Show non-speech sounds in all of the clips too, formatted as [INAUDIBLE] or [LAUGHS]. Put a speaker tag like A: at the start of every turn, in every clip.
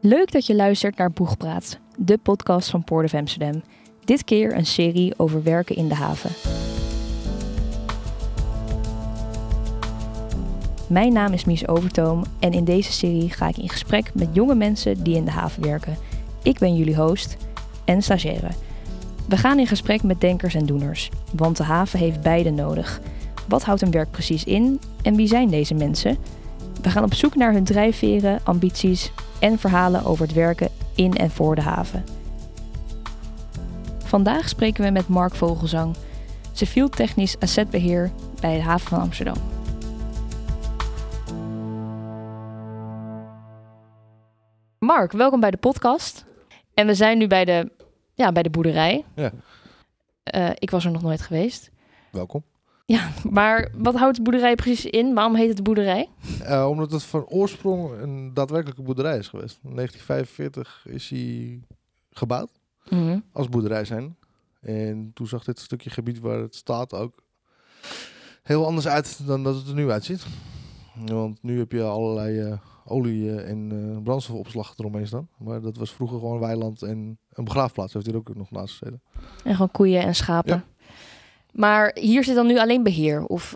A: Leuk dat je luistert naar Boegpraat, de podcast van Port of Amsterdam. Dit keer een serie over werken in de haven. Mijn naam is Mies Overtoom en in deze serie ga ik in gesprek met jonge mensen die in de haven werken. Ik ben jullie host en stagiaire. We gaan in gesprek met denkers en doeners, want de haven heeft beide nodig. Wat houdt een werk precies in en wie zijn deze mensen? We gaan op zoek naar hun drijfveren, ambities en verhalen over het werken in en voor de haven. Vandaag spreken we met Mark Vogelzang, civiel technisch assetbeheer bij de haven van Amsterdam. Mark, welkom bij de podcast. En we zijn nu bij de, ja, bij de boerderij.
B: Ja.
A: Eh, ik was er nog nooit geweest.
B: Welkom.
A: Ja, maar wat houdt de boerderij precies in? Waarom heet het boerderij?
B: Eh, omdat het van oorsprong een daadwerkelijke boerderij is geweest. In 1945 is hij gebouwd als boerderij zijn. En toen zag dit stukje gebied waar het staat ook heel anders uit dan dat het er nu uitziet. Want nu heb je allerlei eh, olie eh, en eh, brandstofopslag eromheen staan. Maar dat was vroeger gewoon weiland en een begraafplaats. Heeft hier ook nog naast gezeten.
A: En gewoon koeien en schapen. Maar hier zit dan nu alleen beheer? Of...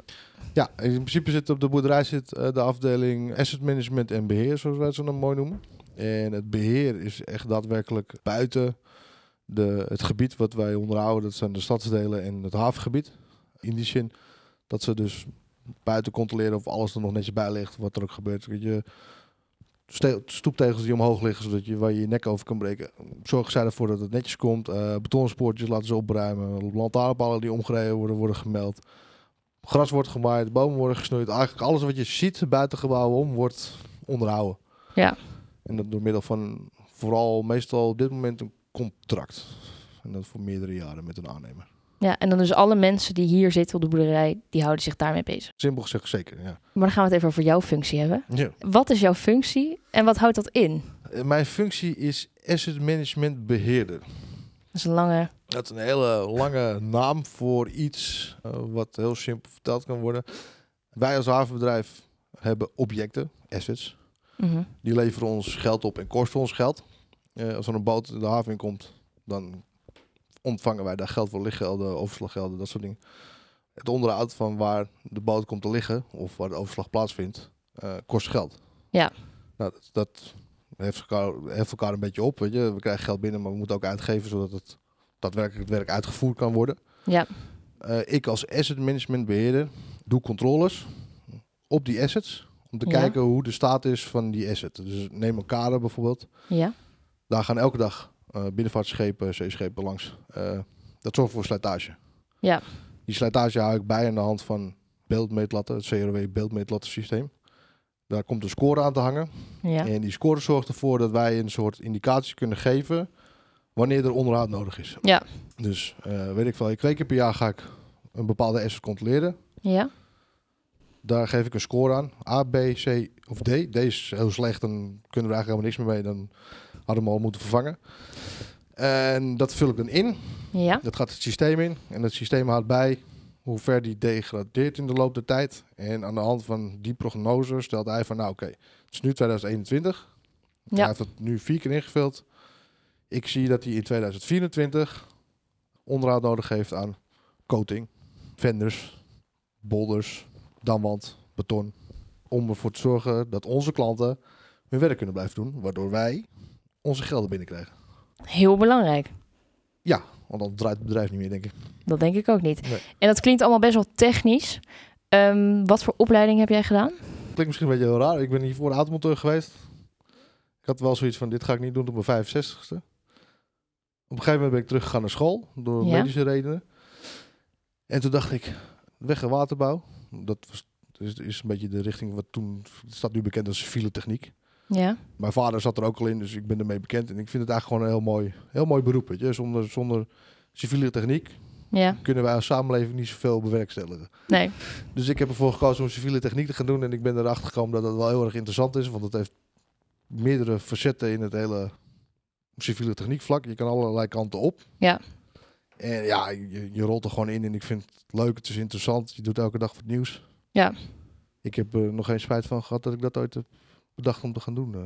B: Ja, in principe zit op de boerderij zit, eh, de afdeling asset management en beheer, zoals wij het zo dan mooi noemen. En het beheer is echt daadwerkelijk buiten de, het gebied wat wij onderhouden. Dat zijn de stadsdelen en het havengebied. In die zin dat ze dus buiten controleren of alles er nog netjes bij ligt, wat er ook gebeurt. Weet je, ste- stoeptegels die omhoog liggen, zodat je waar je je nek over kan breken. Zorgen zij ervoor dat het netjes komt. Eh betonspoortjes laten ze opruimen. Lantaarnpalen die omgereden worden, worden gemeld gras wordt gemaaid, bomen worden gesnoeid. Eigenlijk alles wat je ziet buiten gebouwen om wordt onderhouden.
A: Ja.
B: En dat door middel van vooral meestal op dit moment een contract. En dat voor meerdere jaren met een aannemer.
A: Ja, en dan dus alle mensen die hier zitten op de boerderij, die houden zich daarmee bezig.
B: Simpel gezegd zeker, ja.
A: Maar dan gaan we het even over jouw functie hebben. Wat is jouw functie en wat houdt dat in?
B: Eh, Mijn functie is asset management beheerder.
A: Dat is een lange...
B: Dat is een hele lange naam voor iets eh, wat heel simpel verteld kan worden. Wij als havenbedrijf hebben objecten, assets.
A: Mhm.
B: Die leveren ons geld op en kosten ons geld. Eh, als er een boot de haven in komt, dan ontvangen wij daar geld voor lichtgelden, overslaggelden, dat soort dingen. Het onderhoud van waar de boot komt te liggen of waar de overslag plaatsvindt, eh, kost geld.
A: Ja.
B: Nou, dat, dat heft, elkaar, heft elkaar een beetje op. Weet je. We krijgen geld binnen, maar we moeten ook uitgeven zodat het daadwerkelijk het werk uitgevoerd kan worden.
A: Ja.
B: Eh, ik als asset management beheerder doe controles op die assets. Om te
A: Ja.
B: kijken hoe de staat is van die asset. Dus neem een kader bijvoorbeeld.
A: Ja.
B: Daar gaan elke dag eh, binnenvaartschepen, zeeschepen langs. Eh, dat zorgt voor slijtage.
A: Ja.
B: Die slijtage hou ik bij aan de hand van beeldmeetlatten, het CRW beeldmeetlattensysteem. Daar komt een score aan te hangen.
A: Ja.
B: En die score zorgt ervoor dat wij een soort indicatie kunnen geven wanneer er onderhoud nodig is.
A: Ja.
B: Dus eh, weet ik wel, twee keer per jaar ga ik een bepaalde asset controleren.
A: Ja.
B: Daar geef ik een score aan. A, B, C of D. D is heel slecht, dan kunnen we eigenlijk helemaal niks meer mee. Dan hadden we hem al moeten vervangen. En dat vul ik dan in.
A: Ja.
B: Dat gaat het systeem in. En het systeem houdt bij hoe ver die degradeert in de loop der tijd. En aan de hand van die prognose stelt hij van... nou oké, het is nu 2021.
A: Ja.
B: Hij heeft het nu vier keer ingevuld. Ik zie dat hij in 2024 onderhoud nodig heeft aan coating, vendors, boulders, damwand, beton. Om ervoor te zorgen dat onze klanten hun werk kunnen blijven doen. Waardoor wij onze gelden binnenkrijgen.
A: Heel belangrijk.
B: Want dan draait het bedrijf niet meer, denk ik.
A: Dat denk ik ook niet.
B: Nee.
A: En dat klinkt allemaal best wel technisch. Ehm, wat voor opleiding heb jij gedaan?
B: Klinkt misschien een beetje heel raar. Ik ben hiervoor automonteur geweest. Ik had wel zoiets van, dit ga ik niet doen op mijn 65ste. Op een gegeven moment ben ik teruggegaan naar school, door
A: Ja.
B: medische redenen. En toen dacht ik, weg en waterbouw. Dat was, is, is een beetje de richting wat toen, het staat nu bekend als civiele techniek.
A: Ja.
B: Mijn vader zat er ook al in, dus ik ben ermee bekend. En ik vind het eigenlijk gewoon een heel mooi, heel mooi beroep. Weet je? Zonder, zonder civiele techniek
A: Ja.
B: kunnen wij als samenleving niet zoveel bewerkstelligen.
A: Nee.
B: Dus ik heb ervoor gekozen om civiele techniek te gaan doen. En ik ben erachter gekomen dat dat wel heel erg interessant is. Want het heeft meerdere facetten in het hele civiele techniek vlak. Je kan allerlei kanten op.
A: Ja.
B: En ja, je, je rolt er gewoon in. En ik vind het leuk, het is interessant. Je doet elke dag wat nieuws.
A: Ja. [LAUGHS]
B: Ik heb er nog geen spijt van gehad dat ik dat ooit heb bedacht om te gaan doen. eh.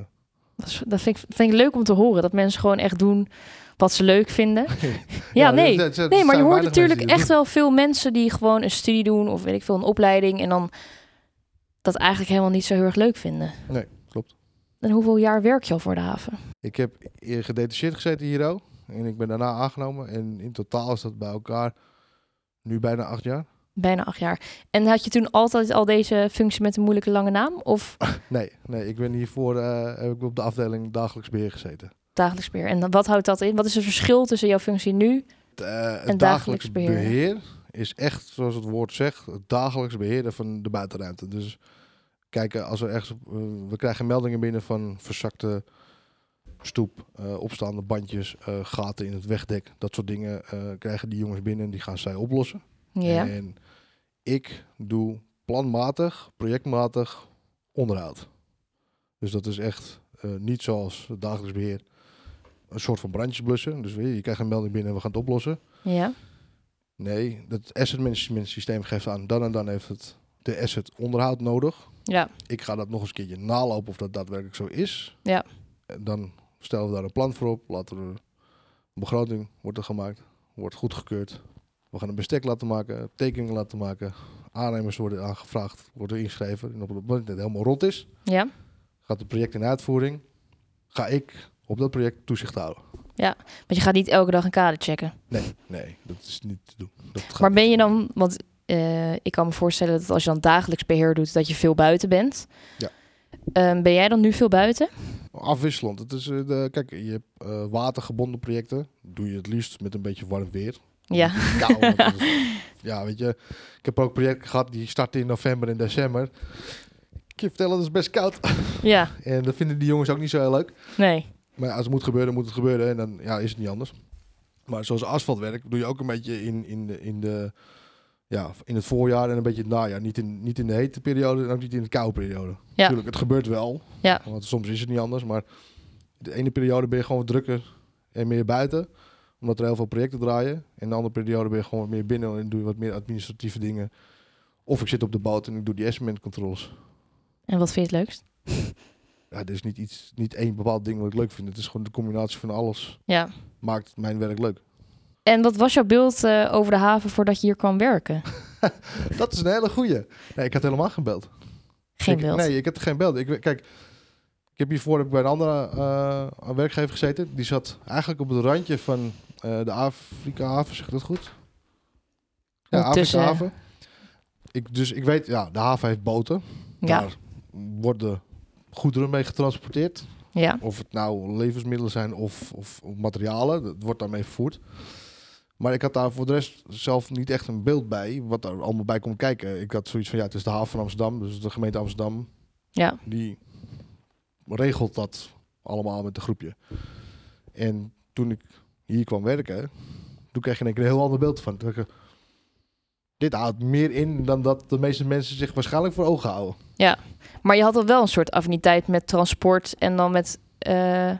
A: Dat, is- dat vind, ik, vind ik leuk om te horen. Dat mensen gewoon echt doen wat ze leuk vinden. Ja, nee.
B: dat- dat- dat
A: Nee, maar je
B: zijn
A: hoort
B: weinig mensen
A: natuurlijk
B: die dat
A: echt wel veel mensen die gewoon een studie doen of weet ik veel, een opleiding en dan dat eigenlijk helemaal niet zo heel erg leuk vinden.
B: Nee, klopt.
A: En hoeveel jaar werk je al voor de haven?
B: Ik heb eer gedetacheerd gezeten hier ook. En ik ben daarna aangenomen. En in totaal is dat bij elkaar nu bijna acht jaar.
A: Bijna acht jaar. En had je toen altijd al deze functie met een moeilijke lange naam
B: [LAUGHS]
A: of
B: Nee, nee ik ben hiervoor eh, heb ik op de afdeling dagelijks beheer gezeten.
A: dagelijks beheer? En dan- wat houdt dat in? Wat is het verschil tussen jouw functie nu?
B: Het, eh, het
A: En dagelijks
B: dagelijks
A: beheer.
B: beheer. is echt, zoals het woord zegt, het dagelijks beheerden van de buitenruimte. Dus kijken, als we ergens op- eh, we krijgen meldingen binnen van verzakte stoep, eh, opstaande bandjes, eh, gaten in het wegdek, dat soort dingen eh, krijgen die jongens binnen en die gaan zij oplossen.
A: Ja.
B: En ik doe planmatig, projectmatig onderhoud. Dus dat is echt eh, niet zoals het dagelijks beheer. Een soort van brandjes blussen. Dus weer, je krijgt een melding binnen en we gaan het oplossen.
A: Ja.
B: Nee, dat asset management systeem geeft aan dan en dan heeft het de asset onderhoud nodig.
A: Ja.
B: Ik ga dat nog eens een keertje nalopen of dat daadwerkelijk zo is.
A: Ja.
B: En Dan stellen we daar een plan voor op. Laten we een begroting wordt er gemaakt, wordt goedgekeurd. We gaan een bestek laten maken, tekeningen laten maken. Aannemers worden aangevraagd, worden ingeschreven. En op het moment dat het helemaal rond is,
A: Ja.
B: gaat het project in uitvoering. Ga ik op dat project toezicht houden?
A: Want je gaat niet elke dag een kader checken.
B: Nee, dat is niet te doen. Dat gaat
A: Maar ben
B: niet.
A: je dan, want eh, ik kan me voorstellen dat als je dan dagelijks beheer doet, dat je veel buiten bent.
B: Ja.
A: Ehm, ben jij dan nu veel buiten?
B: Afwisselend. Het is, eh, de, kijk, je hebt eh, watergebonden projecten. Doe je het liefst met een beetje warm weer.
A: Ja.
B: Kou, want dat is- ja, weet je. Ik heb ook projecten gehad die starten in november en december. Ik je vertellen, dat is best koud.
A: Ja,
B: En dat vinden die jongens ook niet zo heel leuk.
A: nee.
B: Maar ja, als het moet gebeuren, moet het gebeuren. En dan ja, is het niet anders. Maar zoals asfaltwerk doe je ook een beetje in, in, de, in, de, ja, in het voorjaar en een beetje in het najaar. Niet in, niet in de hete periode en ook niet in de koude periode. Natuurlijk, het gebeurt wel.
A: Ja.
B: Want soms is het niet anders. Maar de ene periode ben je gewoon wat drukker en meer buiten. Omdat er heel veel projecten draaien. En de andere periode ben je gewoon wat meer binnen en doe je wat meer administratieve dingen. Of ik zit op de boot en ik doe die estimate controls.
A: En wat vind je het leukst?
B: Ja, er is niet, iets, niet één bepaald ding wat ik leuk vind. Het is gewoon de combinatie van alles
A: Ja.
B: maakt mijn werk leuk.
A: En wat was jouw beeld eh, over de haven voordat je hier kwam werken?
B: Dat is een hele goeie. Nee, ik had helemaal geen beeld.
A: Geen
B: Ik-
A: beeld.
B: Nee, ik had geen beeld. Ik, kijk, ik heb hiervoor heb ik bij een andere eh, werkgever gezeten. Die zat eigenlijk op het randje van eh, de Afrika haven, zeg ik dat goed? Ja,
A: Ondertussen-
B: Afrika haven. Ik, dus ik weet, ja, de haven heeft boten.
A: ja.
B: Daar worden goederen mee getransporteerd.
A: ja.
B: Of het nou levensmiddelen zijn of, of, of materialen, dat wordt daarmee vervoerd. Maar ik had daar voor de rest zelf niet echt een beeld bij, wat daar allemaal bij komt kijken. Ik had zoiets van, ja, het is de haven van Amsterdam, dus de gemeente Amsterdam,
A: Ja.
B: die regelt dat allemaal met een groepje. En toen ik hier kwam werken, toen kreeg ik in één keer een heel ander beeld van. Toen dacht ik, dit houdt meer in dan dat de meeste mensen zich waarschijnlijk voor ogen houden.
A: Maar je had al wel een soort affiniteit met transport en dan met... eh,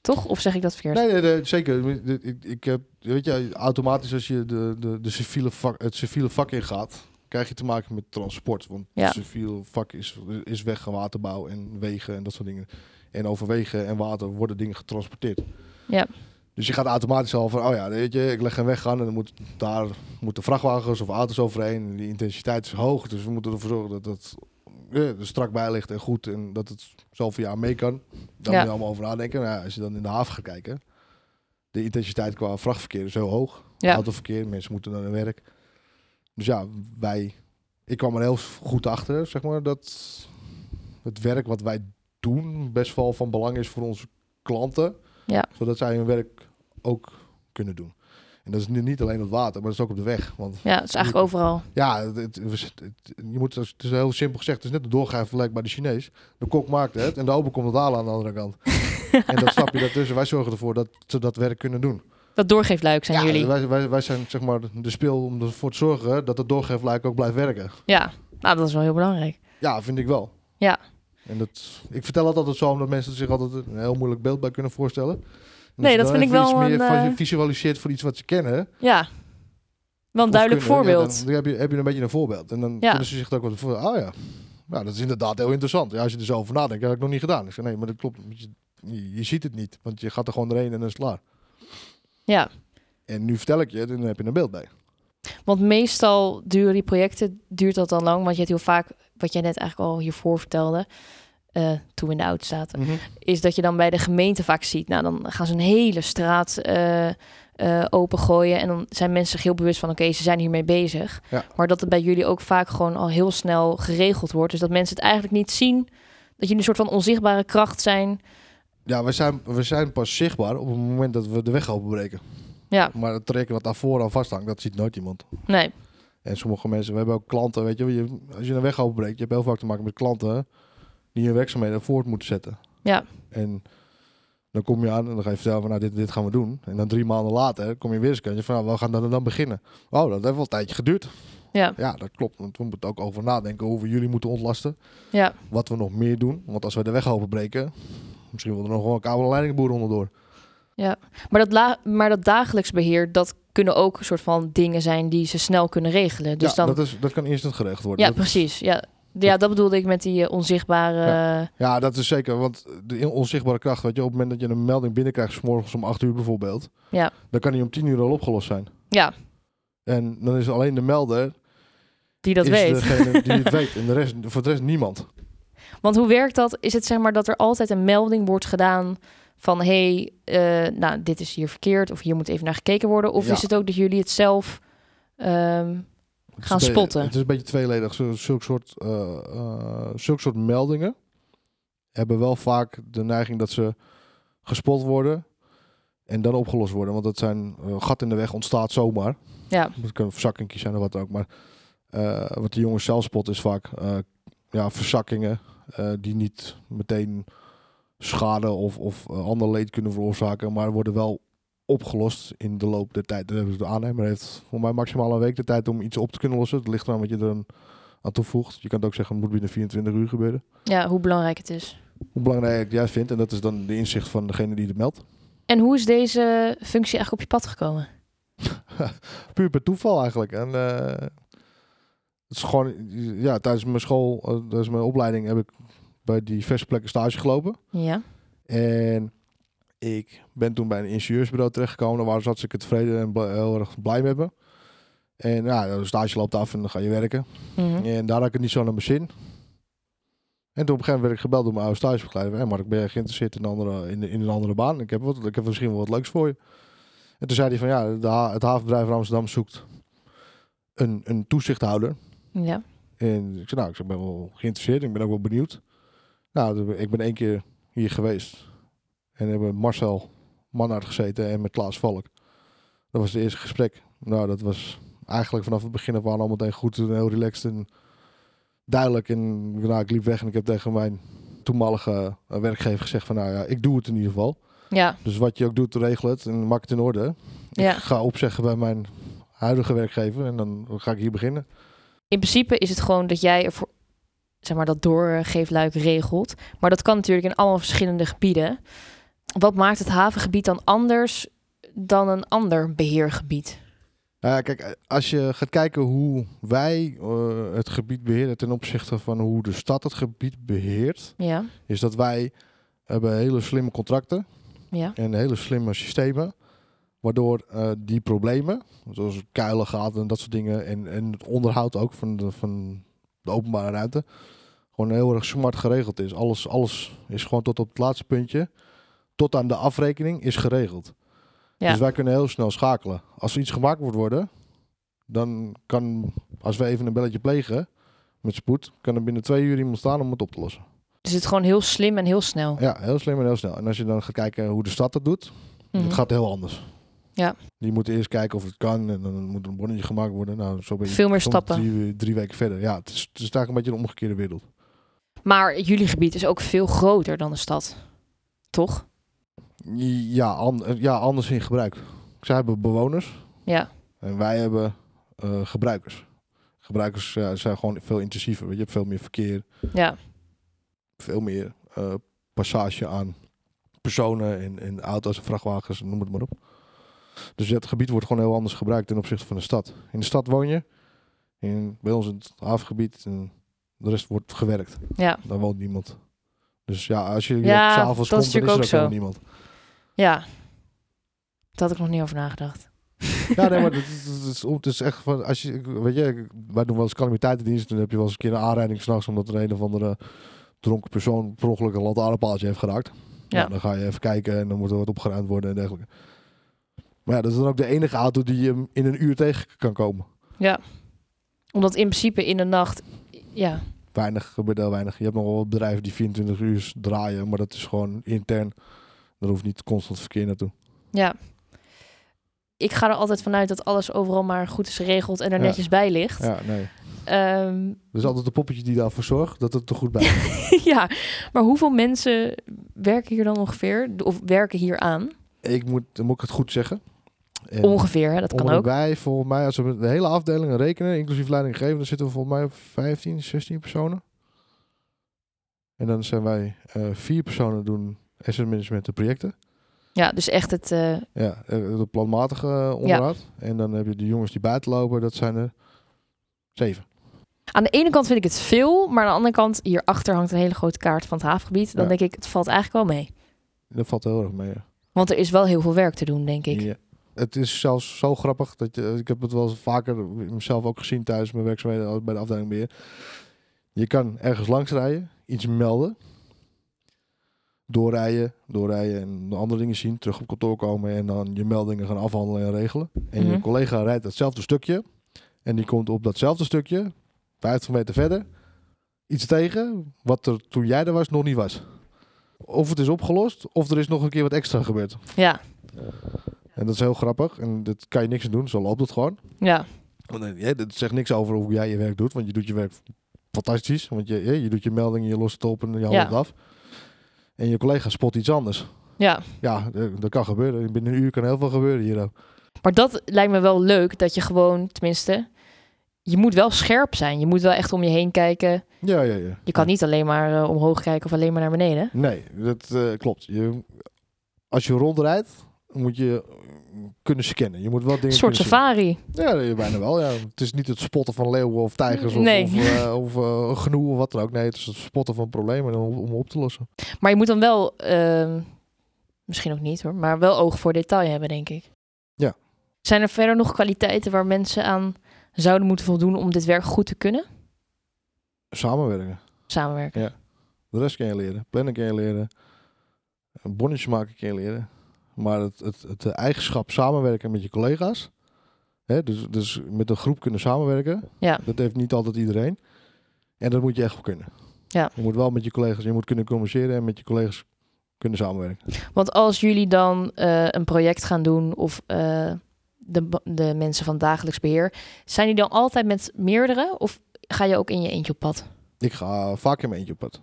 A: toch? Of zeg ik dat verkeerd?
B: Nee, nee, nee, zeker. Ik, ik, ik heb, weet je, automatisch als je de, de, de civiele vak, het civiele vak ingaat, krijg je te maken met transport. Want
A: Ja.
B: het civiele vak is, is weg en waterbouw en wegen en dat soort dingen. En over wegen en water worden dingen getransporteerd.
A: Ja.
B: Dus je gaat automatisch al van, oh ja, weet je, ik leg een weg aan en dan moet, daar moeten vrachtwagens of auto's overheen. En die intensiteit is hoog, dus we moeten ervoor zorgen dat dat eh, er strak bij ligt en goed. En dat het zoveel jaar mee kan. Daar
A: Ja.
B: moet je allemaal over nadenken. Nou ja, als je dan in de haven gaat kijken, de intensiteit qua vrachtverkeer is heel hoog.
A: Ja.
B: Autoverkeer, mensen moeten naar hun werk. Dus ja, wij, ik kwam er heel goed achter, zeg maar, dat het werk wat wij doen best wel van belang is voor onze klanten.
A: Ja.
B: Zodat zij hun werk ook kunnen doen. En dat is nu niet alleen op het water, maar dat is ook op de weg. Want
A: Ja, het is eigenlijk overal.
B: ja, het, het- we zitten- het- je moet, het is heel simpel gezegd, het is net een doorgaan vergelijkbaar bij de Chinees. De kok maakt het en de ober komt het halen aan de andere
A: [LAUGHS]
B: kant. en dat stapje daartussen, wij zorgen ervoor dat ze dat werk kunnen doen.
A: Dat doorgeefluik zijn jullie.
B: Wij, wij, wij zijn zeg maar de speel om ervoor te zorgen dat het doorgeefluik ook blijft werken.
A: Ja. Nou, dat is wel heel belangrijk.
B: Ja, vind ik wel.
A: Ja.
B: En dat, ik vertel het altijd zo, omdat mensen zich altijd een heel moeilijk beeld bij kunnen voorstellen. En
A: Nee,
B: als je
A: dat
B: dan
A: vind ik
B: even iets
A: wel
B: meer
A: een,
B: van
A: eh,
B: je visualiseert voor iets wat ze kennen.
A: Ja. Wel een
B: of
A: duidelijk
B: kunnen, ja,
A: voorbeeld.
B: dan, dan heb, je, heb je een beetje een voorbeeld. En dan
A: Ja.
B: kunnen ze zich er ook Ah, wat voor. Oh ja. Nou, dat is inderdaad heel interessant. Ja, als je er zo over nadenkt, dat heb ik nog niet gedaan. Ik zeg, nee, maar dat klopt. want je- je, je ziet het niet, want je gaat er gewoon doorheen en dan is het klaar.
A: Ja,
B: En nu vertel ik je het en dan heb je een beeld bij.
A: want meestal duren die projecten, duurt dat dan lang? Want je hebt heel vaak, wat jij net eigenlijk al hiervoor vertelde, eh, toen we in de auto zaten, is dat je dan bij de gemeente vaak ziet. Nou, dan gaan ze een hele straat eh, eh, opengooien. En dan zijn mensen zich heel bewust van, oké, ze zijn hiermee bezig.
B: Ja.
A: Maar dat het bij jullie ook vaak gewoon al heel snel geregeld wordt. Dus dat mensen het eigenlijk niet zien. Dat jullie een soort van onzichtbare kracht zijn.
B: Ja, we zijn, we zijn pas zichtbaar op het moment dat we de weg openbreken.
A: Ja,
B: Maar het traject wat daarvoor aan vasthangt, dat ziet nooit iemand.
A: nee.
B: En sommige mensen, we hebben ook klanten, weet je, je- als je een weg openbreekt, je hebt heel vaak te maken met klanten die hun werkzaamheden voort moeten zetten.
A: Ja.
B: En dan kom je aan en dan ga je vertellen van, nou, dit, dit gaan we doen. En dan drie maanden later kom je weer eens kantje van, nou, we gaan dan, dan beginnen. Oh, dat heeft wel een tijdje geduurd.
A: Ja,
B: Ja, dat klopt, want we moeten ook over nadenken hoe we jullie moeten ontlasten.
A: ja,
B: Wat we nog meer doen, want als we de weg openbreken, misschien wil er nog wel een kabel- en leidingboer onderdoor.
A: maar dat, la- maar dat dagelijks beheer, dat kunnen ook een soort van dingen zijn die ze snel kunnen regelen. Dus
B: ja,
A: dan,
B: dat, is, dat kan instant geregeld worden.
A: ja,
B: Dat-
A: precies. Ja. ja, dat bedoelde ik met die eh, onzichtbare...
B: Ja, dat is zeker. Want de onzichtbare kracht, weet je, op het moment dat je een melding binnenkrijgt, s morgens om 8 uur bijvoorbeeld,
A: Ja.
B: dan kan die om 10 uur al opgelost zijn.
A: ja,
B: En dan is alleen de melder
A: die dat
B: is
A: weet. [LAUGHS]
B: degene die het weet. En de rest, voor de rest niemand.
A: Want hoe werkt dat? Is het zeg maar dat er altijd een melding wordt gedaan van hé, hey, eh, nou dit is hier verkeerd of hier moet even naar gekeken worden? Of
B: Ja.
A: is het ook dat jullie het zelf ehm,
B: Het
A: Gaan
B: is een be-
A: spotten.
B: Het is een beetje tweeledig. Zo- Zulke soort, eh, eh, zulke soort meldingen hebben wel vaak de neiging dat ze gespot worden en dan opgelost worden. Want dat zijn eh, gat in de weg ontstaat zomaar.
A: Ja.
B: Dat kunnen verzakkingjes zijn of wat ook. Maar eh, wat de jongens zelf spotten is vaak eh, ja, verzakkingen eh, die niet meteen schade of, of eh, ander leed kunnen veroorzaken, maar worden wel opgelost in de loop der tijd. De aannemer heeft voor mij maximaal een week de tijd om iets op te kunnen lossen. Het ligt eraan wat je er aan- aan toevoegt. Je kan het ook zeggen, het moet binnen 24 uur gebeuren.
A: ja, hoe belangrijk het is.
B: Hoe belangrijk je het juist vindt, en dat is dan de inzicht van degene die het meldt.
A: En hoe is deze functie eigenlijk op je pad gekomen?
B: Puur per toeval eigenlijk. En eh, het is gewoon, ja, tijdens mijn school, eh, tijdens mijn opleiding heb ik bij diverse plekken stage gelopen.
A: Ja,
B: En ik ben toen bij een ingenieursbureau terechtgekomen. Daar waren ze hartstikke tevreden en bl- heel erg blij met me. En nou, de stage loopt af en dan ga je werken.
A: Mhm.
B: En daar had ik het niet zo naar mijn zin. En toen op een gegeven moment werd ik gebeld door mijn oude stagebegeleider. Hé Mark, ben jij geïnteresseerd in, andere, in, in een andere baan? Ik heb, wat, ik heb misschien wel wat leuks voor je. En toen zei hij van ja, de ha- het havenbedrijf van Amsterdam zoekt een, een toezichthouder.
A: ja,
B: En ik zei, nou, ik zeg, ben wel geïnteresseerd. Ik ben ook wel benieuwd. Nou, toen ben- ik ben één keer hier geweest. En hebben met Marcel Manhart gezeten en met Klaas Valk. Dat was het eerste gesprek. Nou, dat was eigenlijk vanaf het begin af aan al meteen goed en heel relaxed en duidelijk. En nou, ik liep weg en ik heb tegen mijn toenmalige eh, werkgever gezegd van, nou ja, ik doe het in ieder geval.
A: ja,
B: Dus wat je ook doet, regel het en maak het in orde.
A: ja.
B: Ik ga opzeggen bij mijn huidige werkgever en dan ga ik hier beginnen.
A: In principe is het gewoon dat jij ervoor, zeg maar, dat doorgeefluik regelt. Maar dat kan natuurlijk in allemaal verschillende gebieden. Wat maakt het havengebied dan anders dan een ander beheergebied?
B: Nou ja, kijk, eh, als je gaat kijken hoe wij eh, het gebied beheren ten opzichte van hoe de stad het gebied beheert,
A: Ja,
B: is dat wij hebben hele slimme contracten
A: ja,
B: en hele slimme systemen, waardoor eh, die problemen, zoals kuilen, gaten en dat soort dingen, en, en het onderhoud ook van de, van de openbare ruimte, gewoon heel erg smart geregeld is. Alles, alles is gewoon tot op het laatste puntje, tot aan de afrekening is geregeld.
A: Ja.
B: Dus wij kunnen heel snel schakelen. Als er iets gemaakt moet worden, dan kan, als we even een belletje plegen met spoed, kan er binnen twee uur iemand staan om het op te lossen.
A: Dus het is gewoon heel slim en heel snel.
B: Ja, heel slim en heel snel. En als je dan gaat kijken hoe de stad dat doet,
A: Mhm.
B: het gaat heel anders.
A: Ja.
B: Die moeten eerst kijken of het kan en dan moet er een bonnetje gemaakt worden. Nou, zo ben je
A: Veel meer
B: soms
A: stappen.
B: Drie, eh, drie weken verder. Ja, het is, het is eigenlijk een beetje een omgekeerde wereld.
A: Maar jullie gebied is ook veel groter dan de stad. Toch?
B: Ja, an- eh, ja anders in gebruik. Zij hebben bewoners
A: Ja,
B: en wij hebben eh, gebruikers. Gebruikers ja, zijn gewoon veel intensiever. Weet je Je hebt veel meer verkeer,
A: ja,
B: veel meer eh, passage aan personen en, en auto's en vrachtwagens, noem het maar op. Dus het gebied wordt gewoon heel anders gebruikt ten opzichte van de stad. In de stad woon je, in, bij ons in het havengebied, en de rest wordt gewerkt.
A: ja.
B: Daar woont niemand. Dus ja, als je
A: Ja,
B: ja, s'avonds
A: dat is
B: komt, dan is er
A: natuurlijk
B: ook
A: ook
B: helemaal niemand.
A: Ja. Daar had ik nog niet over nagedacht.
B: Ja, nee, maar het is, het is, het is echt van, als je, weet je, ik- wij doen wel eens calamiteitendiensten. Dan heb je wel eens een keer een aanrijding s'nachts, omdat er een of andere dronken persoon per ongeluk een lantaarnpaaltje heeft geraakt.
A: Ja.
B: Ja. dan ga je even kijken en dan moet er wat opgeruimd worden en dergelijke. Maar ja, dat is dan ook de enige auto die je in een uur tegen kan komen.
A: Omdat in principe in de nacht... Ja,
B: Weinig gebeurt heel weinig. Je hebt nog wel wat bedrijven die 24 uur draaien, maar dat is gewoon intern. Daar hoeft niet constant verkeer naartoe.
A: ja. Ik ga er altijd vanuit dat alles overal maar goed is geregeld en er
B: Ja.
A: netjes bij ligt.
B: Ja, nee.
A: Ehm, [LAUGHS]
B: Er is altijd een poppetje die daarvoor zorgt dat het er goed bij [LAUGHS] is.
A: ja, maar hoeveel mensen werken hier dan ongeveer? Of werken hier aan?
B: ik moet, dan moet ik het goed zeggen. En
A: Ongeveer, hè? dat kan
B: onder
A: ook.
B: Wij, volgens mij, als we met de hele afdeling rekenen, inclusief leidinggevenden, zitten we volgens mij op 15, 16 personen. En dan zijn wij eh, vier personen doen asset management de projecten.
A: Ja, dus echt het... eh,
B: Ja, eh, de planmatige eh, onderhoud. En dan heb je de jongens die buiten lopen, dat zijn er zeven.
A: Aan de ene kant vind ik het veel, maar aan de andere kant, hierachter hangt een hele grote kaart van het havengebied. Dan
B: Ja.
A: denk ik, het valt eigenlijk wel mee.
B: Dat valt heel erg mee. ja.
A: Want er is wel heel veel werk te doen, denk ik.
B: Ja. Het is zelfs zo grappig dat je, ik heb het wel eens vaker mezelf ook gezien tijdens mijn werkzaamheden als bij de afdeling beheer. Je kan ergens langs rijden, iets melden, doorrijden, doorrijden en de andere dingen zien, terug op kantoor komen en dan je meldingen gaan afhandelen en regelen. En
A: Mhm.
B: je collega rijdt datzelfde stukje en die komt op datzelfde stukje, 50 meter verder, iets tegen wat er toen jij er was nog niet was. Of het is opgelost, of er is nog een keer wat extra gebeurd.
A: Ja,
B: En dat is heel grappig. En dat kan je niks aan doen. Zo loopt het gewoon.
A: ja,
B: Want eh, ja, dat zegt niks over hoe jij je werk doet. Want je doet je werk fantastisch. Want je, je, je doet je melding, je lost het op en je haalt
A: Ja.
B: het af. En je collega spot iets anders.
A: ja.
B: Ja, eh, dat kan gebeuren. Binnen een uur kan heel veel gebeuren hier. ook.
A: Maar dat lijkt me wel leuk, dat je gewoon, tenminste, je moet wel scherp zijn. Je moet wel echt om je heen kijken.
B: Ja, ja, ja.
A: Je kan niet alleen maar eh, omhoog kijken of alleen maar naar beneden.
B: Nee, dat eh, klopt. Je, als je rondrijdt, moet je eh, kunnen scannen. Je moet wel dingen
A: Een soort
B: kunnen zien.
A: safari.
B: Ja, ja, bijna wel. Ja. Het is niet het spotten van leeuwen of tijgers of,
A: Nee.
B: of, eh, of eh, genoe of wat dan ook. Nee, het is het spotten van problemen om, om op te lossen.
A: Maar je moet dan wel, ehm, misschien ook niet hoor, maar wel oog voor detail hebben, denk ik.
B: Ja.
A: Zijn er verder nog kwaliteiten waar mensen aan zouden moeten voldoen om dit werk goed te kunnen?
B: Samenwerken.
A: Samenwerken.
B: De rest kan je leren. Plannen kan je leren. Een bonnetje maken kan je leren. Maar het, het, het eigenschap samenwerken met je collega's. Hè, dus, dus met een groep kunnen samenwerken.
A: Ja.
B: Dat heeft niet altijd iedereen. En dat moet je echt wel kunnen.
A: Ja.
B: Je moet wel met je collega's, je moet kunnen communiceren en met je collega's kunnen samenwerken.
A: Want als jullie dan eh, een project gaan doen of eh, de, ba- de mensen van dagelijks beheer, zijn die dan altijd met meerdere of ga je ook in je eentje op pad?
B: Ik ga vaak in mijn eentje op pad. En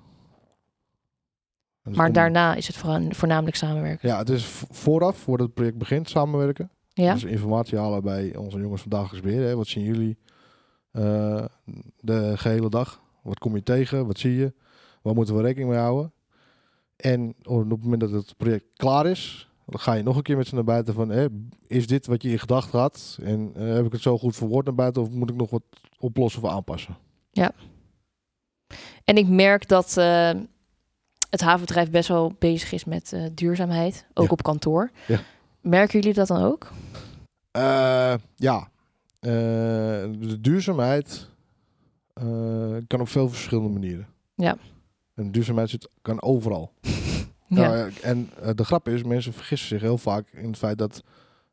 B: dat
A: Maar
B: komt-
A: daarna is het voorna- voornamelijk samenwerken.
B: Ja, het is v- vooraf, voordat het project begint, samenwerken.
A: Ja,
B: Dus informatie halen bij onze jongens van dagelijks beheer. Hè. Wat zien jullie eh, de gehele dag? Wat kom je tegen? Wat zie je? Waar moeten we rekening mee houden? En op het moment dat het project klaar is, dan ga je nog een keer met ze naar buiten van... Hè, is dit wat je in gedachten had? En eh, heb ik het zo goed verwoord naar buiten? Of moet ik nog wat oplossen of aanpassen?
A: en ik merk dat eh, het havenbedrijf best wel bezig is met eh, duurzaamheid, ook
B: Ja.
A: op kantoor.
B: Ja.
A: Merken jullie dat dan ook?
B: Eh, ja, Eh, de duurzaamheid eh, kan op veel verschillende manieren.
A: Ja.
B: En duurzaamheid zit, kan overal. Nou, eh, en eh, de grap is, mensen vergissen zich heel vaak in het feit dat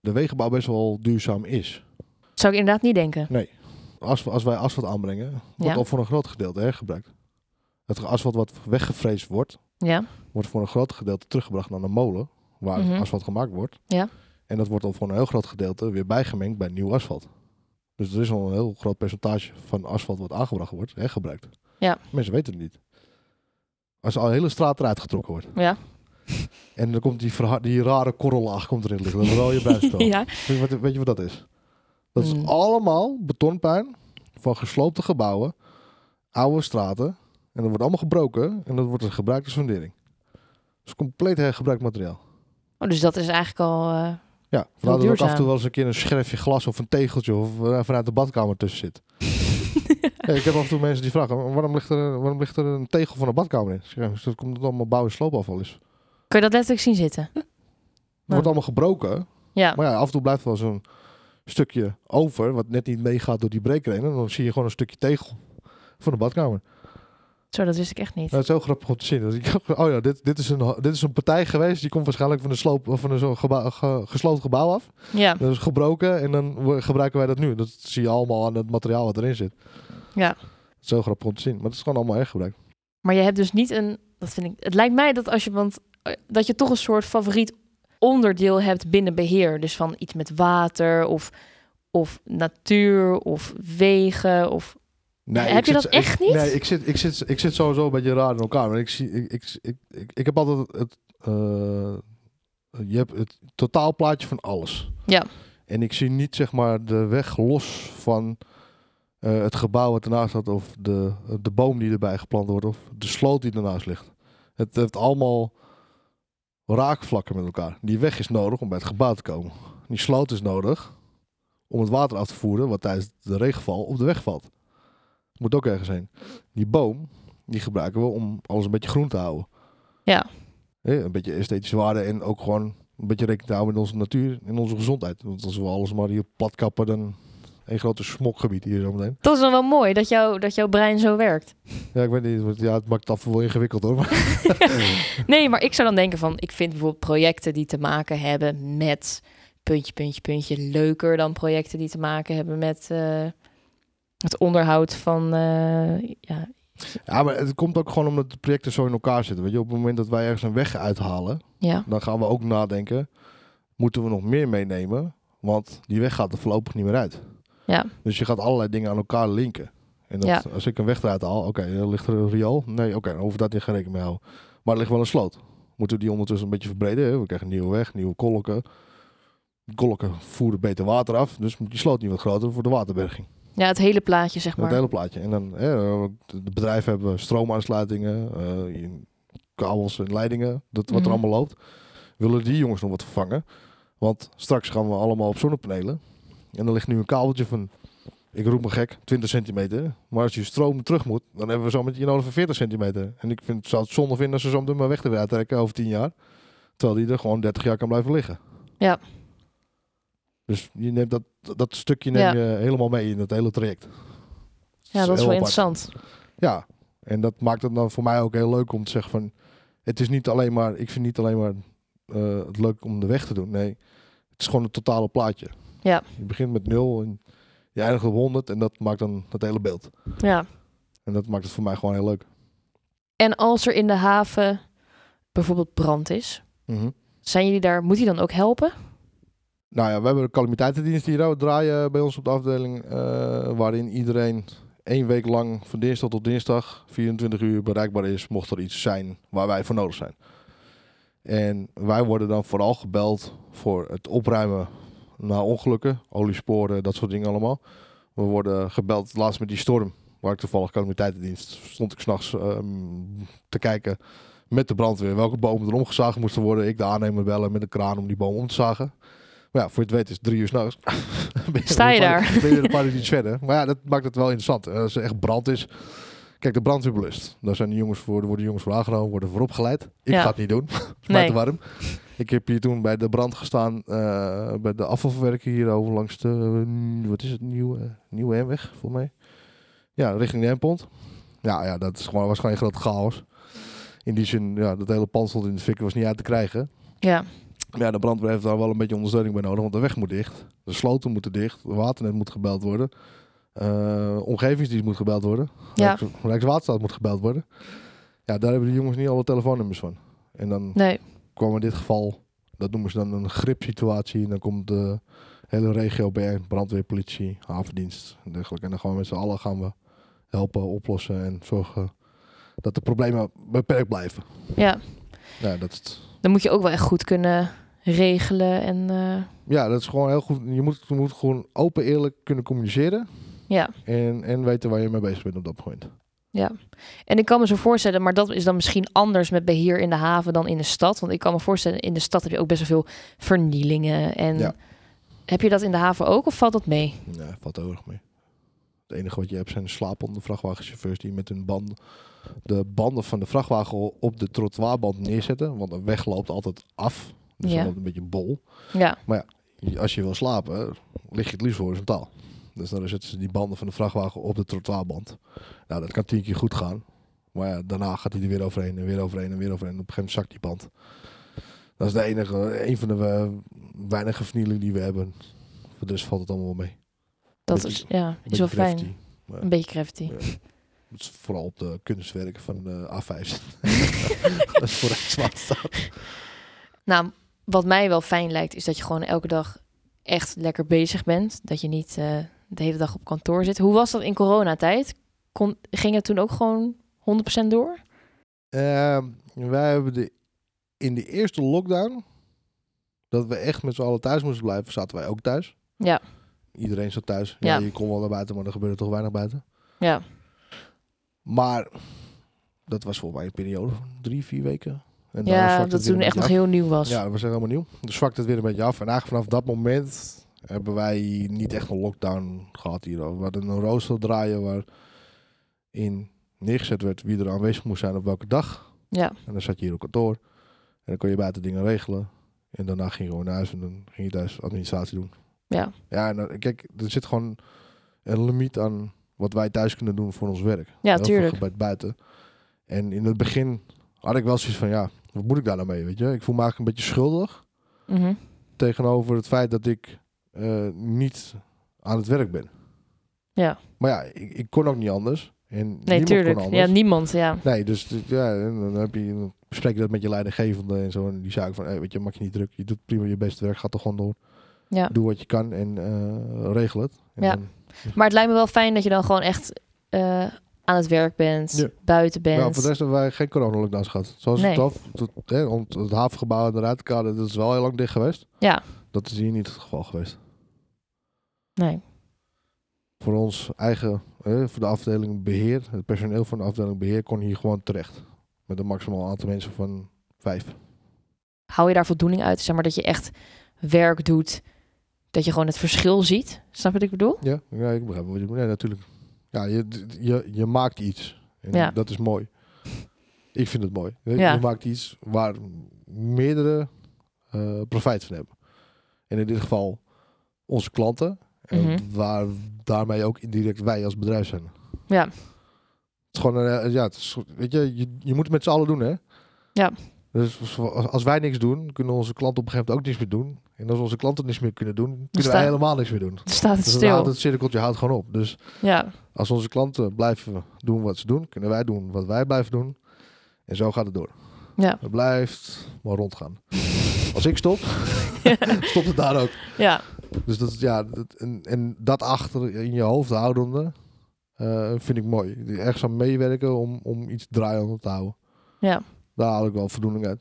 B: de wegenbouw best wel duurzaam is.
A: Zou ik inderdaad niet denken.
B: Als, we- als wij asfalt aanbrengen, wordt
A: Ja.
B: al voor een groot gedeelte hergebruikt. Het asfalt wat weggevreesd wordt,
A: Ja,
B: wordt voor een groot gedeelte teruggebracht naar de molen, waar
A: Mhm.
B: asfalt gemaakt wordt.
A: Ja.
B: En dat wordt al voor een heel groot gedeelte weer bijgemengd bij nieuw asfalt. Dus er is al een heel groot percentage van asfalt wat aangebracht wordt, hergebruikt.
A: Ja.
B: Mensen weten het niet. Als al een hele straat eruit getrokken wordt.
A: ja.
B: En dan komt die, verha- die rare korrellaag komt erin liggen. Dat is wel je
A: [LAUGHS]
B: buitenspel.
A: ja.
B: weet, je wat, weet je wat dat is? Dat is
A: Mm.
B: allemaal betonpuin van gesloopte gebouwen, oude straten. En dat wordt allemaal gebroken en dat wordt gebruikt als fundering. Dus compleet hergebruikt materiaal.
A: Oh, dus dat is eigenlijk al... eh,
B: Ja, vandaar dat er ook af en
A: duurzaam.
B: toe wel eens een keer een scherfje glas of een tegeltje of eh, vanuit de badkamer tussen zit. Ja, ik heb af en toe mensen die vragen, "Maar waarom ligt er, waarom ligt er een tegel van een badkamer in? Ik zeg, "Ja, dus dat komt omdat allemaal bouw- en sloopafval is. Het
A: Kun je dat letterlijk zien zitten?
B: wordt allemaal gebroken,
A: Ja.
B: maar ja, af en toe blijft wel zo'n stukje over, wat net niet meegaat door die breker heen. En dan zie je gewoon een stukje tegel van de badkamer.
A: Zo, dat wist ik echt niet.
B: Nou, het is heel grappig om te zien. Dat ik, oh ja, dit, dit, is een, dit is een partij geweest, die komt waarschijnlijk van een, sloop, van een zo'n gebouw, ge- gesloopt gebouw af.
A: Ja,
B: Dat is gebroken en dan wo- gebruiken wij dat nu. Dat zie je allemaal aan het materiaal wat erin zit.
A: Ja.
B: Het is heel grappig om te zien, maar het is gewoon allemaal hergebruikt.
A: maar je hebt dus niet een. Dat vind ik. Het lijkt mij dat als je. Want eh, dat je toch een soort favoriet onderdeel hebt binnen beheer. Dus van iets met water of, of natuur of wegen of.
B: Nee,
A: Heb
B: ik
A: je
B: zit-
A: dat
B: ik-
A: echt niet?
B: Nee, ik zit, ik, zit, ik zit sowieso een beetje raar in elkaar. Maar ik, zie, ik, ik, ik, ik, ik heb altijd het... eh, je hebt het totaalplaatje van alles.
A: Ja.
B: En ik zie niet zeg maar de weg los van eh, het gebouw wat ernaast staat... of de, de boom die erbij geplant wordt of de sloot die ernaast ligt. Het heeft allemaal raakvlakken met elkaar. Die weg is nodig om bij het gebouw te komen. Die sloot is nodig om het water af te voeren... wat tijdens de regenval op de weg valt. Moet ook ergens heen. Die boom, die gebruiken we om alles een beetje groen te houden.
A: Ja.
B: Hè, een beetje esthetische waarde en ook gewoon een beetje rekening te houden met onze natuur en onze gezondheid. Want als we alles maar hier plat kappen, dan een grote smokgebied hier zo meteen.
A: Dat is dan wel mooi dat, jou, dat jouw brein zo werkt.
B: Ja, ik weet niet, want ja, het maakt dat wel
A: [LAUGHS]
B: ingewikkeld hoor. Maar
A: Nee, maar ik zou dan denken van. Ik vind bijvoorbeeld projecten die te maken hebben met. Puntje, puntje, puntje. Leuker dan projecten die te maken hebben met. eh, het onderhoud van. eh, ja,
B: ja, maar het komt ook gewoon omdat de projecten zo in elkaar zitten. Weet je, op het moment dat wij ergens een weg uithalen,
A: ja,
B: dan gaan we ook nadenken, moeten we nog meer meenemen? Want die weg gaat er voorlopig niet meer uit.
A: ja.
B: Dus je gaat allerlei dingen aan elkaar linken. En dat,
A: Ja.
B: als ik een weg eruit haal, oké, er ligt er een riool? Nee, oké, dan hoef ik daar niet geen rekening mee te houden. Maar er ligt wel een sloot. Moeten we die ondertussen een beetje verbreden? Hè? We krijgen een nieuwe weg, nieuwe kolken. Kolken voeren beter water af, dus moet die sloot niet wat groter voor de waterberging.
A: Ja, het hele plaatje, zeg
B: Dat
A: maar.
B: hele plaatje. En dan, hè, de bedrijven hebben stroomaansluitingen, eh, kabels en leidingen, dat wat
A: Mhm.
B: er allemaal loopt. Willen die jongens nog wat vervangen? Want straks gaan we allemaal op zonnepanelen. En er ligt nu een kabeltje van, ik roep me gek, 20 centimeter. Maar als je stroom terug moet, dan hebben we zo met je nodig van 40 centimeter. En ik vind, zou het zonde vinden als ze zo meteen maar weg te weer uittrekken over 10 jaar. Terwijl die er gewoon 30 jaar kan blijven liggen.
A: Ja.
B: Dus je neemt dat, dat stukje neem
A: Ja.
B: je helemaal mee in het hele traject.
A: Ja, dat is
B: Heel
A: wel
B: apart.
A: interessant.
B: Ja, en dat maakt het dan voor mij ook heel leuk om te zeggen van... Het is niet alleen maar... Ik vind niet alleen maar eh, het leuk om de weg te doen. Nee, het is gewoon het totale plaatje.
A: Ja.
B: Je begint met nul en je eindigt op 100 en dat maakt dan het hele beeld.
A: Ja.
B: En dat maakt het voor mij gewoon heel leuk.
A: En als er in de haven bijvoorbeeld brand is, zijn jullie daar, moet hij dan ook helpen?
B: Nou ja, we hebben de calamiteitendienst die hier draaien bij ons op de afdeling. eh, waarin iedereen één week lang van dinsdag tot dinsdag 24 uur bereikbaar is. Mocht er iets zijn waar wij voor nodig zijn. En wij worden dan vooral gebeld voor het opruimen na ongelukken. Oliesporen, dat soort dingen allemaal. We worden gebeld laatst met die storm. Waar ik toevallig calamiteitendienst stond ik s'nachts ehm, te kijken met de brandweer. Welke bomen er omgezaagd moesten worden. Ik de aannemer bellen met een kraan om die boom om te zagen. Maar ja, voor je het weet is het drie uur s'nachts.
A: Sta je daar?
B: [LAUGHS] Ben je weer een paar uur iets verder. Maar ja, dat maakt het wel interessant. En Als er echt brand is. Kijk, de brandweerbelust. Daar zijn de jongens voor, daar worden jongens voor aangenomen, worden voor opgeleid. Ik
A: Ja.
B: ga het niet doen. Het is mij te warm. Ik heb hier toen bij de brand gestaan, eh, bij de afvalverwerking hierover langs de, eh, wat is het, Nieuwe, Nieuwe Hemweg, volgens mij. Ja, richting de Hempont. Ja, ja, dat is gewoon, was gewoon een groot chaos. In die zin, ja, dat hele pand stond in de fik, was niet uit te krijgen.
A: Ja,
B: Maar ja, de brandweer heeft daar wel een beetje ondersteuning bij nodig, want de weg moet dicht. De sloten moeten dicht, de waternet moet gebeld worden. eh omgevingsdienst moet gebeld worden.
A: ja.
B: Rijks- Rijkswaterstaat moet gebeld worden. Ja, daar hebben de jongens niet alle telefoonnummers van. En dan
A: Nee.
B: kwam in dit geval, dat noemen ze dan een gripsituatie. En dan komt de hele regio bij, brandweer, politie, havendienst en dergelijke. En dan gewoon met z'n allen gaan we helpen, oplossen en zorgen dat de problemen beperkt blijven.
A: Ja,
B: Ja, dat is,
A: dan moet je ook wel echt goed kunnen regelen en eh,
B: ja, dat is gewoon heel goed. Je moet, je moet gewoon open, eerlijk kunnen communiceren.
A: ja.
B: En, en weten waar je mee bezig bent op dat moment.
A: En ik kan me zo voorstellen, maar dat is dan misschien anders met beheer in de haven dan in de stad. Want ik kan me voorstellen, in de stad heb je ook best wel veel vernielingen. En
B: Ja.
A: heb je dat in de haven ook of valt dat mee?
B: Nee, valt heel erg mee. Het enige wat je hebt zijn slapende vrachtwagenchauffeurs die met hun band de banden van de vrachtwagen op de trottoirband neerzetten. Want een weg loopt altijd af. Dus
A: Ja.
B: dan loopt een beetje bol.
A: Ja,
B: Als je wil slapen, lig je het liefst horizontaal. Dus dan zetten ze die banden van de vrachtwagen op de trottoirband. Nou, dat kan tien keer goed gaan. Maar ja, daarna gaat hij er weer overheen en weer overheen en weer overheen. En op een gegeven moment zakt die band. Dat is de enige, een van de eh, weinige vernielingen die we hebben. Voor dus valt het allemaal wel mee.
A: dat
B: Beetje-
A: is, ja, is
B: Beetje
A: wel fijn.
B: crafty. Maar
A: Een beetje crafty.
B: Ja. dat is vooral op de kunstwerken van de [LAUGHS] A5. dat is voor het zwart staat.
A: Nou, wat mij wel fijn lijkt, is dat je gewoon elke dag echt lekker bezig bent. Dat je niet eh, de hele dag op kantoor zit. Hoe was dat in coronatijd? Kon, ging het toen ook gewoon 100% door?
B: Ehm, wij hebben de, in de eerste lockdown, dat we echt met z'n allen thuis moesten blijven, zaten wij ook thuis.
A: Ja.
B: Iedereen zat thuis. Ja,
A: Ja.
B: Je kon wel naar buiten, maar er gebeurde toch weinig buiten.
A: Ja,
B: Maar dat was volgens mij een periode van drie, vier weken. En daarna
A: ja
B: zwakte
A: dat
B: het weer
A: toen
B: een
A: echt nog
B: beetje
A: heel nieuw
B: af.
A: was.
B: Ja, dat was echt helemaal nieuw. Dus zwakte het weer een beetje af. En eigenlijk vanaf dat moment hebben wij niet echt een lockdown gehad hier. We hadden een rooster draaien waarin neergezet werd wie er aanwezig moest zijn op welke dag.
A: Ja.
B: En dan zat je hier op kantoor. En dan kon je buiten dingen regelen. En daarna ging je gewoon naar huis en dan ging je thuis administratie doen.
A: Ja.
B: Ja, en dan- kijk, er zit gewoon een limiet aan wat wij thuis kunnen doen voor ons werk.
A: Ja,
B: Heel
A: tuurlijk.
B: veel gebeurt buiten. En in het begin had ik wel zoiets van, ja, wat moet ik daar nou mee, weet je? Ik voel me eigenlijk een beetje schuldig
A: Mhm.
B: tegenover het feit dat ik eh, niet aan het werk ben.
A: Ja.
B: Maar ja, ik, ik kon ook niet anders. En
A: Nee,
B: niemand
A: tuurlijk.
B: Kon anders.
A: Ja, niemand. Ja.
B: Nee, dus dus ja, en dan heb je, dan bespreek je dat met je leidinggevende en zo. En die zaken van, hey, weet je, maak je niet druk. Je doet prima je beste werk, ga toch gewoon door.
A: Ja.
B: Doe wat je kan en eh, regel het. En
A: Ja.
B: dan-
A: Maar het lijkt me wel fijn dat je dan gewoon echt eh, aan het werk bent,
B: Ja.
A: buiten
B: Nou,
A: bent.
B: voor de rest hebben wij geen coronalockdowns gehad. Zoals
A: Nee.
B: het af, tot, hè, want het havengebouw en de ruitkade, dat is wel heel lang dicht geweest.
A: Ja.
B: Dat is hier niet het geval geweest.
A: Nee.
B: Voor ons eigen, hè, voor de afdeling beheer, het personeel van de afdeling beheer kon hier gewoon terecht. Met een maximaal aantal mensen van vijf.
A: Hou je daar voldoening uit? Zeg maar dat je echt werk doet, dat je gewoon het verschil ziet. Snap je wat ik bedoel?
B: Ja, ja ik begrijp wat je bedoelt. Ja, natuurlijk. Ja, je, je, je maakt iets. En
A: Ja.
B: dat is mooi. Ik vind het mooi. Je,
A: Ja.
B: je maakt iets waar meerdere eh, profijt van hebben. En in dit geval onze klanten. En
A: Mhm.
B: waar daarmee ook indirect wij als bedrijf zijn.
A: Ja.
B: Het is gewoon, een, eh, ja, het is, weet je, je, je moet het met z'n allen doen, hè?
A: Ja.
B: Dus als- als wij niks doen, kunnen onze klanten op een gegeven moment ook niks meer doen. En als onze klanten niks meer kunnen doen, kunnen wij
A: staan-
B: helemaal niks meer doen.
A: Dan staat het
B: Dus dan houdt
A: stil.
B: het cirkeltje houdt gewoon op. Dus
A: Ja.
B: als onze klanten blijven doen wat ze doen, kunnen wij doen wat wij blijven doen. En zo gaat het door.
A: Ja.
B: Het blijft maar
A: [LAUGHS]
B: rondgaan. Als ik stop, [LAUGHS] stopt het daar ook.
A: Ja.
B: Dus dat, is- ja, dat- en, en dat achter in je hoofd houdende eh, vind ik mooi. Die Ergens aan meewerken om, om iets draaiende te houden.
A: Ja.
B: Daar haal ik wel voldoening uit.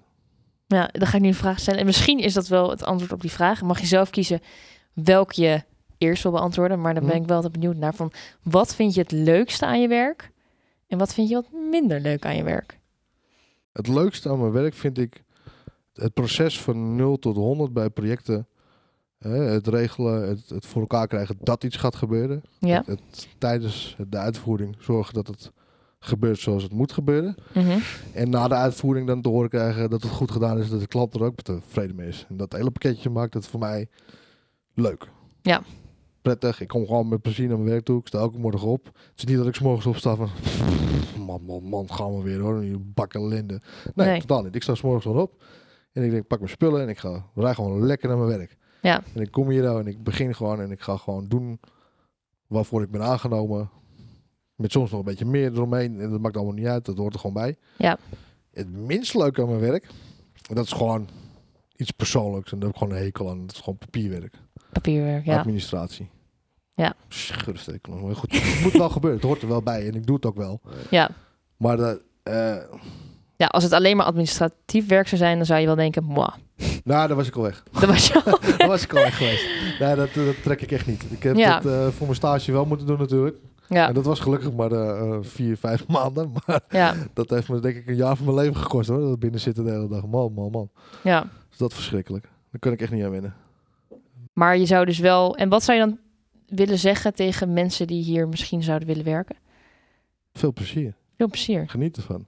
A: ja, dan ga ik nu een vraag stellen. En misschien is dat wel het antwoord op die vraag. Mag je zelf kiezen welke je eerst wil beantwoorden. Maar dan ben
B: Hm.
A: ik wel altijd benieuwd naar van... wat vind je het leukste aan je werk? En wat vind je wat minder leuk aan je werk?
B: Het leukste aan mijn werk vind ik het proces van 0 tot 100 bij projecten. Hè, het regelen, het, het voor elkaar krijgen dat iets gaat gebeuren.
A: Ja.
B: Het, het tijdens de uitvoering zorgen dat het gebeurt zoals het moet gebeuren.
A: Mhm.
B: En na de uitvoering dan te horen krijgen dat het goed gedaan is. Dat de klant er ook tevreden mee is. En dat hele pakketje maakt het voor mij leuk.
A: Ja.
B: Prettig. Ik kom gewoon met plezier naar mijn werk toe. Ik sta elke morgen op. Het is niet dat ik 's morgens opsta van... Man, man, man, gaan we weer hoor. Je bakken linden. Nee,
A: Nee.
B: totaal niet. Ik sta 's morgens gewoon op. En ik denk, pak mijn spullen en ik ga rij gewoon lekker naar mijn werk.
A: Ja.
B: En ik kom hier nou en ik begin gewoon en ik ga gewoon doen waarvoor ik ben aangenomen. Met soms nog een beetje meer eromheen. En dat maakt allemaal niet uit. Dat hoort er gewoon bij het minst leuk aan mijn werk, dat is gewoon iets persoonlijks. En daar heb ik gewoon een hekel aan. Dat is gewoon papierwerk.
A: Papierwerk, ja.
B: Administratie.
A: Ja.
B: Schurftekel. Maar goed, het moet wel gebeuren. Het hoort er wel bij. En ik doe het ook wel.
A: ja.
B: Maar dat, eh,
A: Ja, als het alleen maar administratief werk zou zijn... dan zou je wel denken, mwah,
B: nou, daar was ik al weg.
A: dat was je al.
B: Daar was ik al weg geweest. Nee, dat, dat trek ik echt niet. Ik heb
A: Ja.
B: dat eh, voor mijn stage wel moeten doen natuurlijk.
A: Ja,
B: En dat was gelukkig maar eh, eh, vier, vijf maanden. Maar
A: ja,
B: dat heeft me denk ik een jaar van mijn leven gekost hoor. Dat binnen zitten de hele dag. Man, man, man.
A: ja.
B: Dus dat is verschrikkelijk. Daar kan ik echt niet aan winnen.
A: Maar je zou dus wel... En wat zou je dan willen zeggen tegen mensen die hier misschien zouden willen werken?
B: Veel plezier.
A: Veel plezier.
B: Geniet ervan.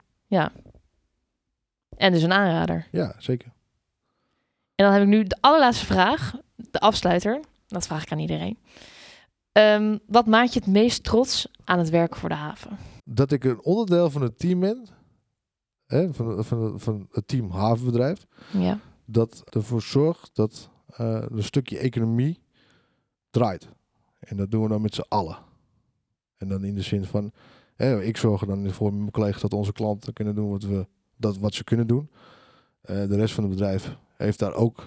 A: En dus een aanrader.
B: Ja, zeker.
A: En dan heb ik nu de allerlaatste vraag, de afsluiter. Dat vraag ik aan iedereen. Ehm, wat maakt je het meest trots aan het werken voor de haven?
B: Dat ik een onderdeel van het team ben, hè, van, van, van het team havenbedrijf,
A: Ja.
B: dat ervoor zorgt dat eh, een stukje economie draait. En dat doen we dan met z'n allen. En dan in de zin van, hè, ik zorg er dan voor met mijn collega's dat onze klanten kunnen doen wat, we, dat, wat ze kunnen doen. Eh, de rest van het bedrijf heeft daar ook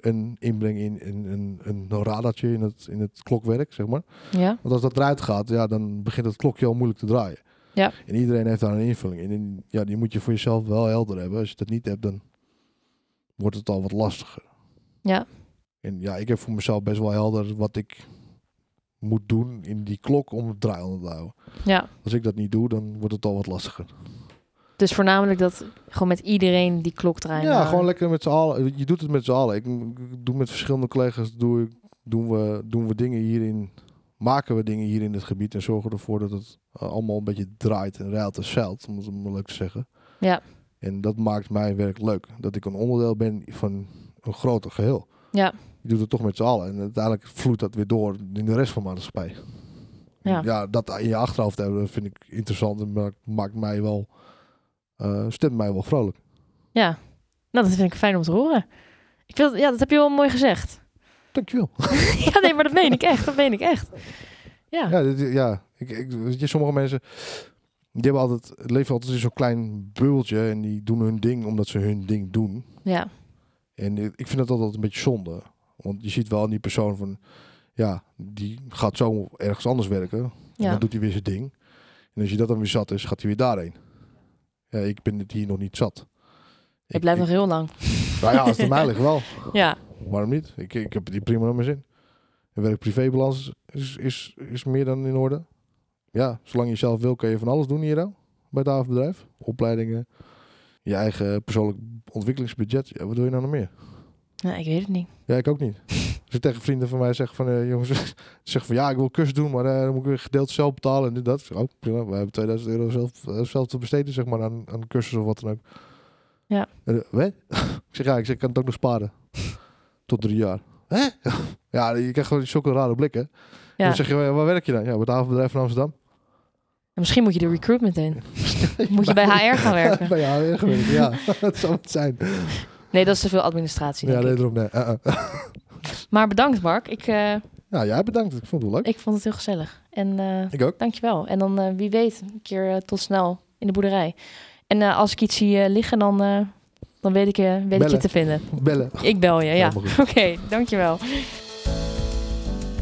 B: een inbreng in, in, een een radertje in het, in het klokwerk, zeg maar.
A: Ja.
B: Want als dat eruit gaat, ja, dan begint het klokje al moeilijk te draaien.
A: Ja.
B: En iedereen heeft daar een invulling in. En ja, die moet je voor jezelf wel helder hebben. Als je dat niet hebt, dan wordt het al wat lastiger.
A: Ja.
B: En ja, ik heb voor mezelf best wel helder wat ik moet doen in die klok om het draaiende te houden.
A: Ja.
B: Als ik dat niet doe, dan wordt het al wat lastiger.
A: Dus voornamelijk dat gewoon met iedereen die klok draaien.
B: Ja,
A: houden.
B: gewoon lekker met z'n allen. Je doet het met z'n allen. Ik, ik doe met verschillende collega's doe ik, doen, we, doen we dingen hierin. Maken we dingen hier in dit gebied en zorgen ervoor dat het eh, allemaal een beetje draait en ruilt en zeilt, om het maar leuk te zeggen.
A: Ja.
B: En dat maakt mijn werk leuk. Dat ik een onderdeel ben van een groter geheel.
A: Ja.
B: Je doet het toch met z'n allen. En uiteindelijk vloeit dat weer door in de rest van de maatschappij.
A: Ja.
B: ja, dat in je achterhoofd hebben vind ik interessant en maakt, maakt mij wel, eh, stemt mij wel vrolijk.
A: Ja. Nou, dat vind ik fijn om te horen. Ik vind, dat- ja, dat heb je wel mooi gezegd.
B: Dankjewel.
A: [LAUGHS] ja, nee, maar dat meen ik echt. Dat meen ik echt. Ja.
B: Ja, dit, ja. Ik, ik, weet je, sommige mensen die hebben altijd, leven altijd in zo'n klein bubbeltje en die doen hun ding omdat ze hun ding doen.
A: Ja.
B: En eh, ik vind dat altijd een beetje zonde. Want je ziet wel aan die persoon van, ja, die gaat zo ergens anders werken. En
A: Ja.
B: dan doet hij weer zijn ding. En als je dat dan weer zat is, gaat hij weer daarheen. Ja, ik ben het hier nog niet zat.
A: Ik blijf nog heel lang.
B: Nou ja, als
A: [LAUGHS]
B: het aan mij ligt wel.
A: Ja.
B: Waarom niet? Ik, ik heb die prima naar mijn zin. Een werk-privébalans is, is, is meer dan in orde. Ja, zolang je zelf wil, kan je van alles doen hier al, bij het havenbedrijf. Opleidingen, je eigen persoonlijk ontwikkelingsbudget. Ja, wat wil je nou nog meer?
A: Nou, ik weet het niet.
B: Ja, ik ook niet. [LAUGHS] Als ik tegen vrienden van mij zeg van, eh, jongens, [LAUGHS] zeg van ja, ik wil cursus doen, maar eh, dan moet ik weer gedeeld zelf betalen en dit, dat. Ik zeg, Oh, prima, we hebben 2000 euro zelf, eh, zelf te besteden, zeg maar, aan, aan cursus of wat dan ook.
A: Ja.
B: En, eh, wat? [LAUGHS] ik zeg ja, ik zeg, ik kan het ook nog sparen. [LAUGHS] Tot drie jaar. Hè? [LAUGHS] ja, je krijgt gewoon zulke rare blikken.
A: Ja.
B: Dan zeg je, waar werk je dan? Ja, bij het havenbedrijf van Amsterdam. [LAUGHS]
A: En Misschien moet je de recruitment in. Moet je bij
B: Nou.
A: HR gaan werken.
B: Bij jou ingewerkt, ja.
A: [LAUGHS]
B: [LAUGHS] dat zou het zijn.
A: Nee, dat is te veel administratie.
B: Ja,
A: denk
B: nee,
A: ik.
B: daarom nee. Eh, eh.
A: Maar bedankt, Mark. Ik, eh,
B: Nou, jij bedankt. Ik vond het wel leuk.
A: ik vond het heel gezellig. En eh
B: Ik ook.
A: dankjewel. En dan eh, wie weet, een keer eh, tot snel in de boerderij. En eh, als ik iets zie eh, liggen, dan, eh, dan weet, ik, eh, weet ik je
B: Bellen.
A: te vinden.
B: Bellen.
A: Ik bel je, ja.
B: Helemaal goed.
A: Oké, dankjewel.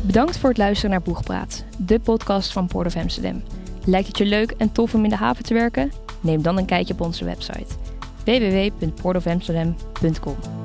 C: Bedankt voor het luisteren naar Boegpraat, de podcast van Port of Amsterdam. Lijkt het je leuk en tof om in de haven te werken? Neem dan een kijkje op onze website www.portofamsterdam.com.